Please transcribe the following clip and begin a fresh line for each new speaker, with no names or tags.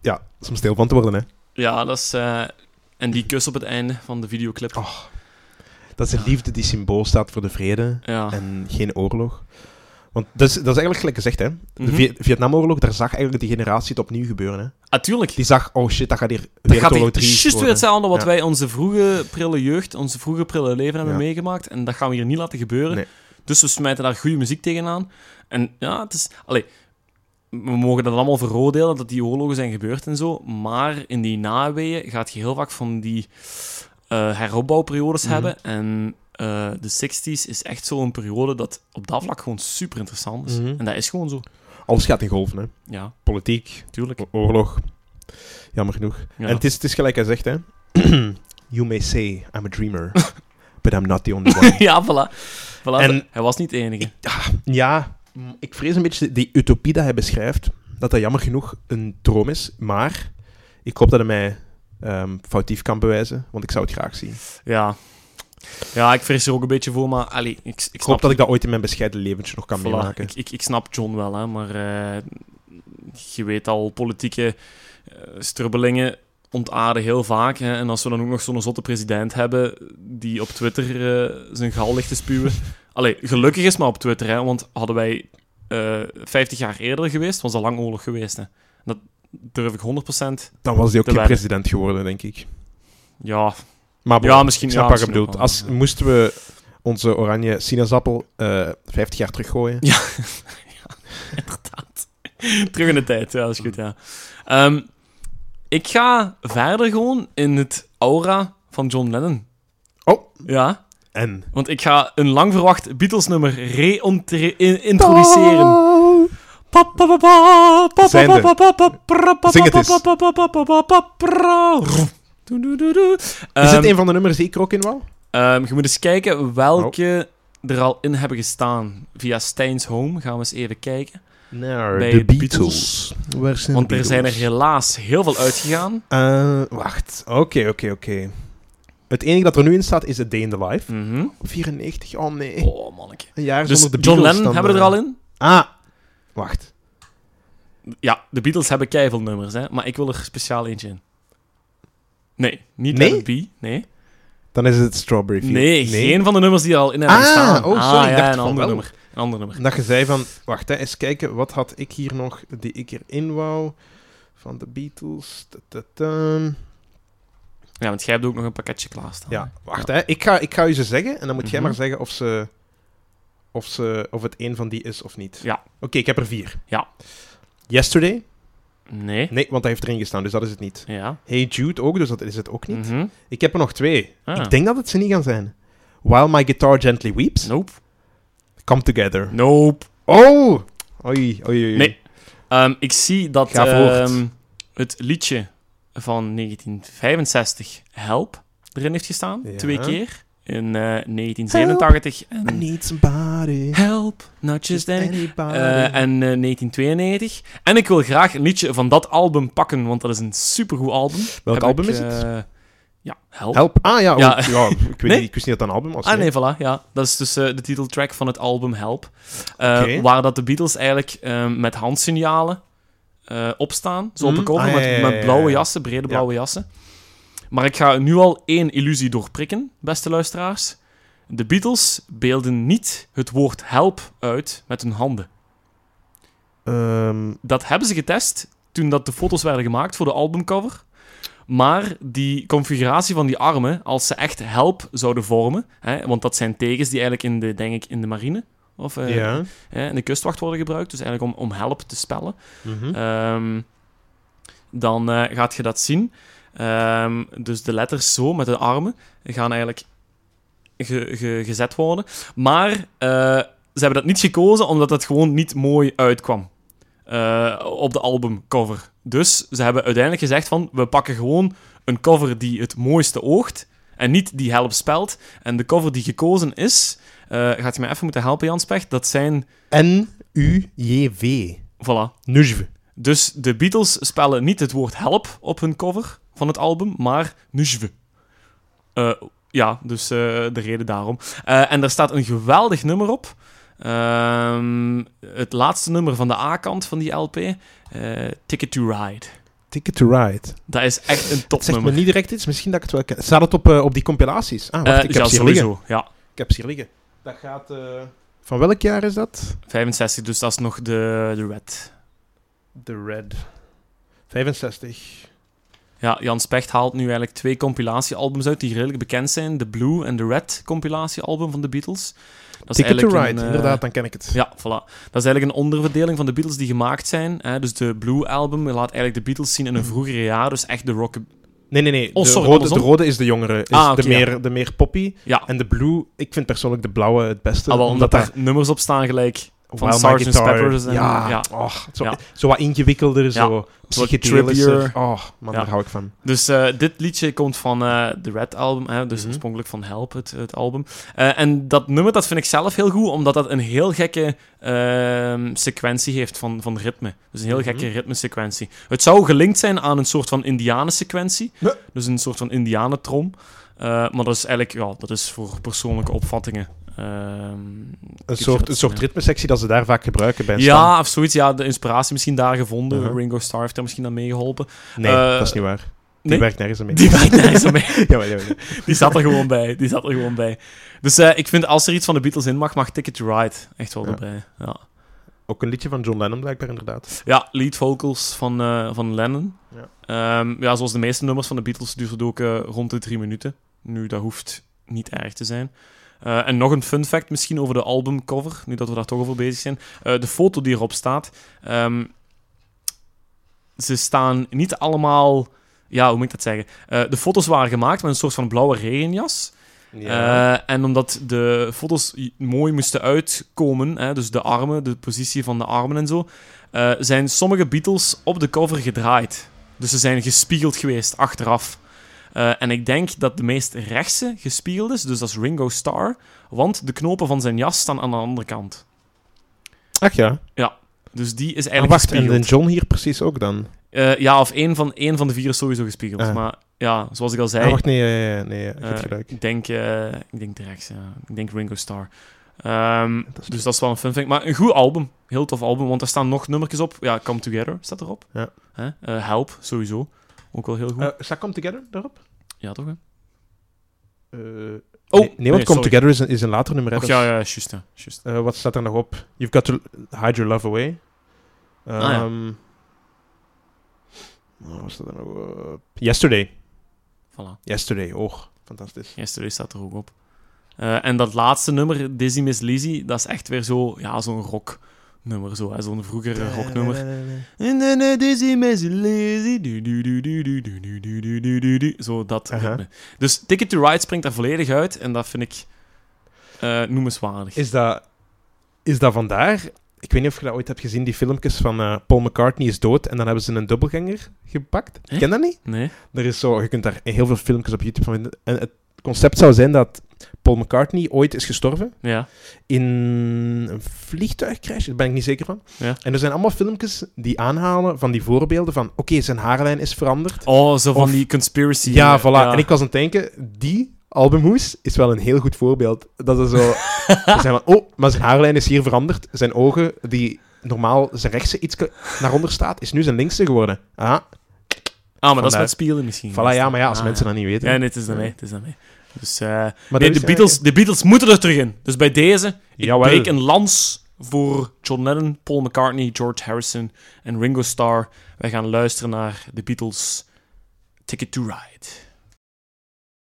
ja, is om stil van te worden, hè.
Ja, dat is... eh, en die kus op het einde van de videoclip.
Oh, dat is de liefde die symbool staat voor de vrede
ja.
en geen oorlog. Want dat is, dat is eigenlijk gelijk gezegd, hè. De
Mhm.
Vi- Vietnamoorlog, daar zag eigenlijk die generatie het opnieuw gebeuren, hè.
Ah, tuurlijk.
Die zag, oh shit, dat gaat hier
Dat
weer
gaat
Apollo
weer
3
juist weer
worden.
hetzelfde wat
Ja.
wij onze vroege prille jeugd, onze vroege prille leven hebben
Ja.
meegemaakt. En dat gaan we hier niet laten gebeuren.
Nee.
Dus we smijten daar goede muziek tegenaan. En ja, het is... Allee, we mogen dat allemaal veroordelen, dat die oorlogen zijn gebeurd en zo. Maar in die naweeën gaat je heel vaak van die eh, heropbouwperiodes
Mhm.
hebben. En eh, de 60s is echt zo'n periode dat op dat vlak gewoon super interessant is.
Mhm.
En dat is gewoon zo.
Alles gaat in golven, hè.
Ja,
Politiek,
tuurlijk.
oorlog. Jammer genoeg.
Ja.
En het is, het is gelijk hij zegt, hè. you may say I'm a dreamer, but I'm not the only one.
ja, voilà. voilà
En-
Hij was niet de enige.
Ja, mm, ik vrees een beetje die utopie dat hij beschrijft, dat dat jammer genoeg een droom is. Maar ik hoop dat hij mij ehm, foutief kan bewijzen, want ik zou het graag zien.
Ja. Ja, ik vrees er ook een beetje voor, maar allee, ik, ik snap...
Ik hoop dat ik dat ooit in mijn bescheiden leventje nog kan
Voilà,
meemaken.
Ik, ik, ik snap John wel, hè, maar eh, je weet al, politieke eh, strubbelingen ontaarden heel vaak. Hè, en als we dan ook nog zo'n zotte president hebben die op Twitter eh, zijn gal ligt te spuwen... Allee, gelukkig is maar op Twitter, hè, want hadden wij eh 50 jaar eerder geweest, was dat lang oorlog geweest. Hè. Dat durf ik 100%.
Dan was hij ook geen
te weinig.
president geworden, denk ik.
Ja,
Maar bon,
Ja, misschien-
ik snap
ja,
wat je
misschien ook
bedoelt.
wel,
Als,
ja.
Moesten we onze oranje sinaasappel eh 50 jaar teruggooien?
inderdaad. Terug in de tijd, ja, dat is goed, ja. Ehm, ik ga verder gewoon in het aura van John Lennon.
Oh.
Ja,
En...
want ik ga een lang verwacht Beatles-nummer
Oh.
re-introduceren.
Zijnde. Zing het eens. Is
Ehm,
dit een van de nummers die ik er ook in wou?
Ehm, je moet eens kijken welke
Oh.
er al in hebben gestaan. Via Stijn's Home gaan we eens even kijken.
Naar
Bij
de
de Beatles.
Beatles. Waar zijn
Want
de
er zijn er
Beatles?
helaas heel veel uitgegaan.
Eh, wacht. Oké, oké, oké. Het enige dat er nu in staat is A Day in the Life.
Mhm.
94, oh nee.
Oh, manneke.
Een jaar
Dus
zonder de
John
Beatles
Lennon
dan,
hebben we er
eh.
al in.
Ah, wacht.
Ja, de Beatles hebben keivel nummers, hè. Maar ik wil er speciaal eentje in. Nee, niet
Nee?
Let It Be, Nee.
Dan is het Strawberry
Nee,
Fields.
geen van de nummers die er al in hebben
Ah,
gestaan.
oh, sorry, ik
ja,
dacht
een
van
ander
wel.
nummer. Een ander nummer.
Dat je zei van, wacht hè, eens kijken, wat had ik hier nog die ik erin wou? Van de Beatles. Ta -ta -ta.
Ja, want jij hebt ook nog een pakketje klaarstaan.
Ja, wacht hè. Ik ga, ik ga u ze zeggen en dan moet jij
Mhm.
maar zeggen of ze... Of, ze, of het een van die is of niet.
Ja.
Oké, ik heb er vier.
Ja.
Yesterday?
Nee.
Nee, want hij heeft erin gestaan, dus dat is het niet.
Ja.
Hey Jude ook, dus dat is het ook niet.
Mhm.
Ik heb er nog twee.
Ah.
Ik denk dat het ze niet gaan zijn. While My Guitar Gently Weeps,
Nope.
Come Together.
Nope.
Oh! Oei, oei, oei.
Nee. Ehm, ik zie dat
Ga voort.
ehm, het liedje van 1965, Help, erin heeft gestaan.
Ja.
Twee keer. In eh, 1987
I
en
need somebody.
Help, Not Just Any.
anybody.
Eh, en eh, 1992. En ik wil graag een liedje van dat album pakken, want dat is een supergoed album.
Welk
Heb
album
ik,
is het?
eh, ja, Help.
Help. Ah ja, oh,
Ja.
ja. ik, weet
Nee.
niet, ik wist niet dat dat een album was.
Ah nee, voilà. Ja. Dat is dus eh, de titeltrack van het album Help. Eh,
Oké.
Waar dat de Beatles eigenlijk eh, met handsignalen eh, opstaan. Zo op
Mhm.
een cover,
Ah, ja, ja, ja,
met,
ja,
met blauwe
ja.
jassen, brede blauwe jassen. Maar ik ga nu al één illusie doorprikken, beste luisteraars. De Beatles beelden niet het woord help uit met hun handen.
Ehm,
Dat hebben ze getest toen dat de foto's werden gemaakt voor de albumcover. Maar die configuratie van die armen, als ze echt help zouden vormen, hè, want dat zijn tegens die eigenlijk in de, denk ik, in de marine of eh,
ja.
hè, in de kustwacht worden gebruikt, dus eigenlijk om, om help te spellen,
Mhm.
Ehm, dan eh, gaat je dat zien. Ehm, dus de letters zo met de armen gaan eigenlijk ge- ge- gezet worden. Maar eh, ze hebben dat niet gekozen omdat dat gewoon niet mooi uitkwam eh, op de albumcover. Dus ze hebben uiteindelijk gezegd van we pakken gewoon een cover die het mooiste oogt en niet die help spelt. En de cover die gekozen is, eh, gaat je mij even moeten helpen Jan Specht, dat zijn,
N-U-J-V.
voilà,
Nujv.
dus de Beatles spellen niet het woord help op hun cover van het album, maar nujve. Eh, ja, dus eh, de reden daarom. Eh, en daar staat een geweldig nummer op. Ehm, het laatste nummer van de A-kant van die LP. eh, Ticket to Ride.
Ticket to Ride.
Dat is echt
Dat
een
zegt
topnummer.
me niet direct iets, misschien dat ik het wel ken. Staat het op, eh, op die compilaties? Ah, wacht,
Eh,
ik heb
ja,
ze hier liggen.
sowieso. Ja,
Ik heb ze hier liggen. Dat gaat... eh, Van welk jaar is dat?
65, dus dat is nog de, de red.
The Red. 65.
Ja, Jan Specht haalt nu eigenlijk twee compilatiealbums uit die redelijk bekend zijn. De Blue en de Red compilatiealbum van de Beatles. Dat
Ticket to
eigenlijk
Ride,
een, eh,
inderdaad, dan ken ik het.
Ja, voilà. Dat is eigenlijk een onderverdeling van de Beatles die gemaakt zijn. Hè? Dus de Blue album laat eigenlijk de Beatles zien in hun vroegere jaar. Dus echt de rock...
Nee, nee, nee.
Oh,
de,
sorry,
rode, de
andersom.
rode is de jongere. Is
Ah, oké,
de, meer, de meer poppy.
Ja,
En de blue, ik vind persoonlijk de blauwe het beste.
ah, wel, omdat daar nummers op staan gelijk.
daar
van
Wild
Sgt.
My Guitar-
Pepper's en-
ja,
ja.
och, zo,
Ja.
zo wat ingewikkelder, zo psychedelischer.
trippier.
Oh, man,
Ja.
daar hou ik van.
Dus eh, dit liedje komt van eh, de Red album, hè? dus
Mhm.
oorspronkelijk van Help, het, het album. Eh, en dat nummer dat vind ik zelf heel goed, omdat dat een heel gekke ehm, sequentie heeft van, van ritme. Dus een heel
Mhm.
gekke ritmesequentie. Het zou gelinkt zijn aan een soort van indianensequentie,
Ja.
dus een soort van indianentrom. Eh, maar dat is eigenlijk ja, dat is voor persoonlijke opvattingen. Ehm,
Een
Ik
soort,
vind
een
het,
soort
ja.
ritmesectie dat ze daar vaak gebruiken bij een stam.
Ja, of zoiets. Ja, de inspiratie misschien daar gevonden.
Uh-huh.
Ringo Starr heeft daar misschien aan meegeholpen.
Nee,
eh,
dat is niet waar. Die
nee.
werkt nergens aan mee.
Die werkt nergens aan mee.
Jawel, jawel, jawel.
Die zat er gewoon bij. Die zat er gewoon bij. Dus eh, ik vind, als er iets van de Beatles in mag, mag Ticket to Ride echt wel
Ja.
erbij. Ja,
Ook een liedje van John Lennon blijkbaar, inderdaad.
ja lead vocals van, eh, van Lennon.
Ja.
Ja. ja, zoals de meeste nummers van de Beatles duurt het ook eh, rond de drie minuten. Nu, dat hoeft niet erg te zijn. Eh, en nog een fun fact misschien over de albumcover, nu dat we daar toch over bezig zijn. Eh, de foto die erop staat. ehm, ze staan niet allemaal... Ja, hoe moet ik dat zeggen? Eh, de foto's waren gemaakt met een soort van blauwe regenjas. Eh, en omdat de foto's i- mooi moesten uitkomen, hè, dus de armen, de positie van de armen en zo, eh, zijn sommige Beatles op de cover gedraaid. Dus ze zijn gespiegeld geweest achteraf. Eh, en ik denk dat de meest rechtse gespiegeld is, dus dat is Ringo Starr, want de knopen van zijn jas staan aan de andere kant.
Ach ja.
Dus die is
En
eigenlijk
Ah, wacht, en
gespiegeld.
de John hier precies ook dan?
Eh, ja, of één van, één van de vier is sowieso gespiegeld.
Ah.
Maar ja, zoals ik al zei,
Ah, wacht, nee, nee, nee, nee, ik heb
Eh,
gelijk.
ik denk, eh, ik denk de rechts, ja. Ik denk Ringo Starr. Ehm,
Dat is
dus dat is wel een fun fact. Maar een goed album. Heel tof album, want er staan nog nummertjes op. Ja, Come Together staat erop.
Ja.
Hè? Eh, Help, sowieso. Ook wel heel goed.
Eh, staat Come Together daarop?
ja, toch? Hè?
Eh,
Oh,
nee, nee, want Come
sorry.
Together is een, is een later nummer. hè,
Och,
dat
ja,
is-
ja, juist. hè, juist.
Eh, wat staat er nog op? You've got to hide your love away. Ehm
Ah, ja.
nou, Wat staat er nog op? Yesterday.
Voilà.
Yesterday, oh, fantastisch.
Yesterday staat er ook op. Eh, en dat laatste nummer, Dizzy Miss Lizzy, dat is echt weer zo, ja, zo'n rock nummer. Zo, hè, zo'n vroegere rocknummer. En dan eh, Dizzy Miss Lizzy. Du, du, du, du, du, du, du, du, du, du, du, du. Zo dat
Aha.
ritme. Dus Ticket to Ride springt daar volledig uit. En dat vind ik eh, noemenswaardig.
Is dat, is dat vandaar? Ik weet niet of je dat ooit hebt gezien, die filmpjes van eh, Paul McCartney is dood en dan hebben ze een dubbelganger gepakt.
Hè?
Ken dat niet?
Nee?
Er is zo, je kunt daar heel veel filmpjes op YouTube van vinden. En het concept zou zijn dat Paul McCartney ooit is gestorven
Ja.
in een vliegtuigcrash, daar ben ik niet zeker van.
Ja.
En er zijn allemaal filmpjes die aanhalen van die voorbeelden van, oké, zijn haarlijn is veranderd.
Oh, zo van
Of-
die conspiracy.
ja,
eh,
voilà. En ik was aan het denken, die albumhoes is wel een heel goed voorbeeld. Dat is zo, ze zijn van, oh, maar zijn haarlijn is hier veranderd. Zijn ogen, die normaal zijn rechtse iets naar onder staat, is nu zijn linkse geworden. Ah,
Ah, maar dat is
Vandaar.
met spieren misschien.
eh, voilà, ja, maar ja, als
Ah,
mensen
ja.
dat niet weten.
Ja, nee, het is daarmee. Het is daarmee. Dus, eh,
Maar
nee,
dat
de
is
Beatles, de Beatles moeten er terug in. Dus bij deze, ik
Jawel.
breek een lans voor John Lennon, Paul McCartney, George Harrison en Ringo Starr. Wij gaan luisteren naar de Beatles Ticket to Ride.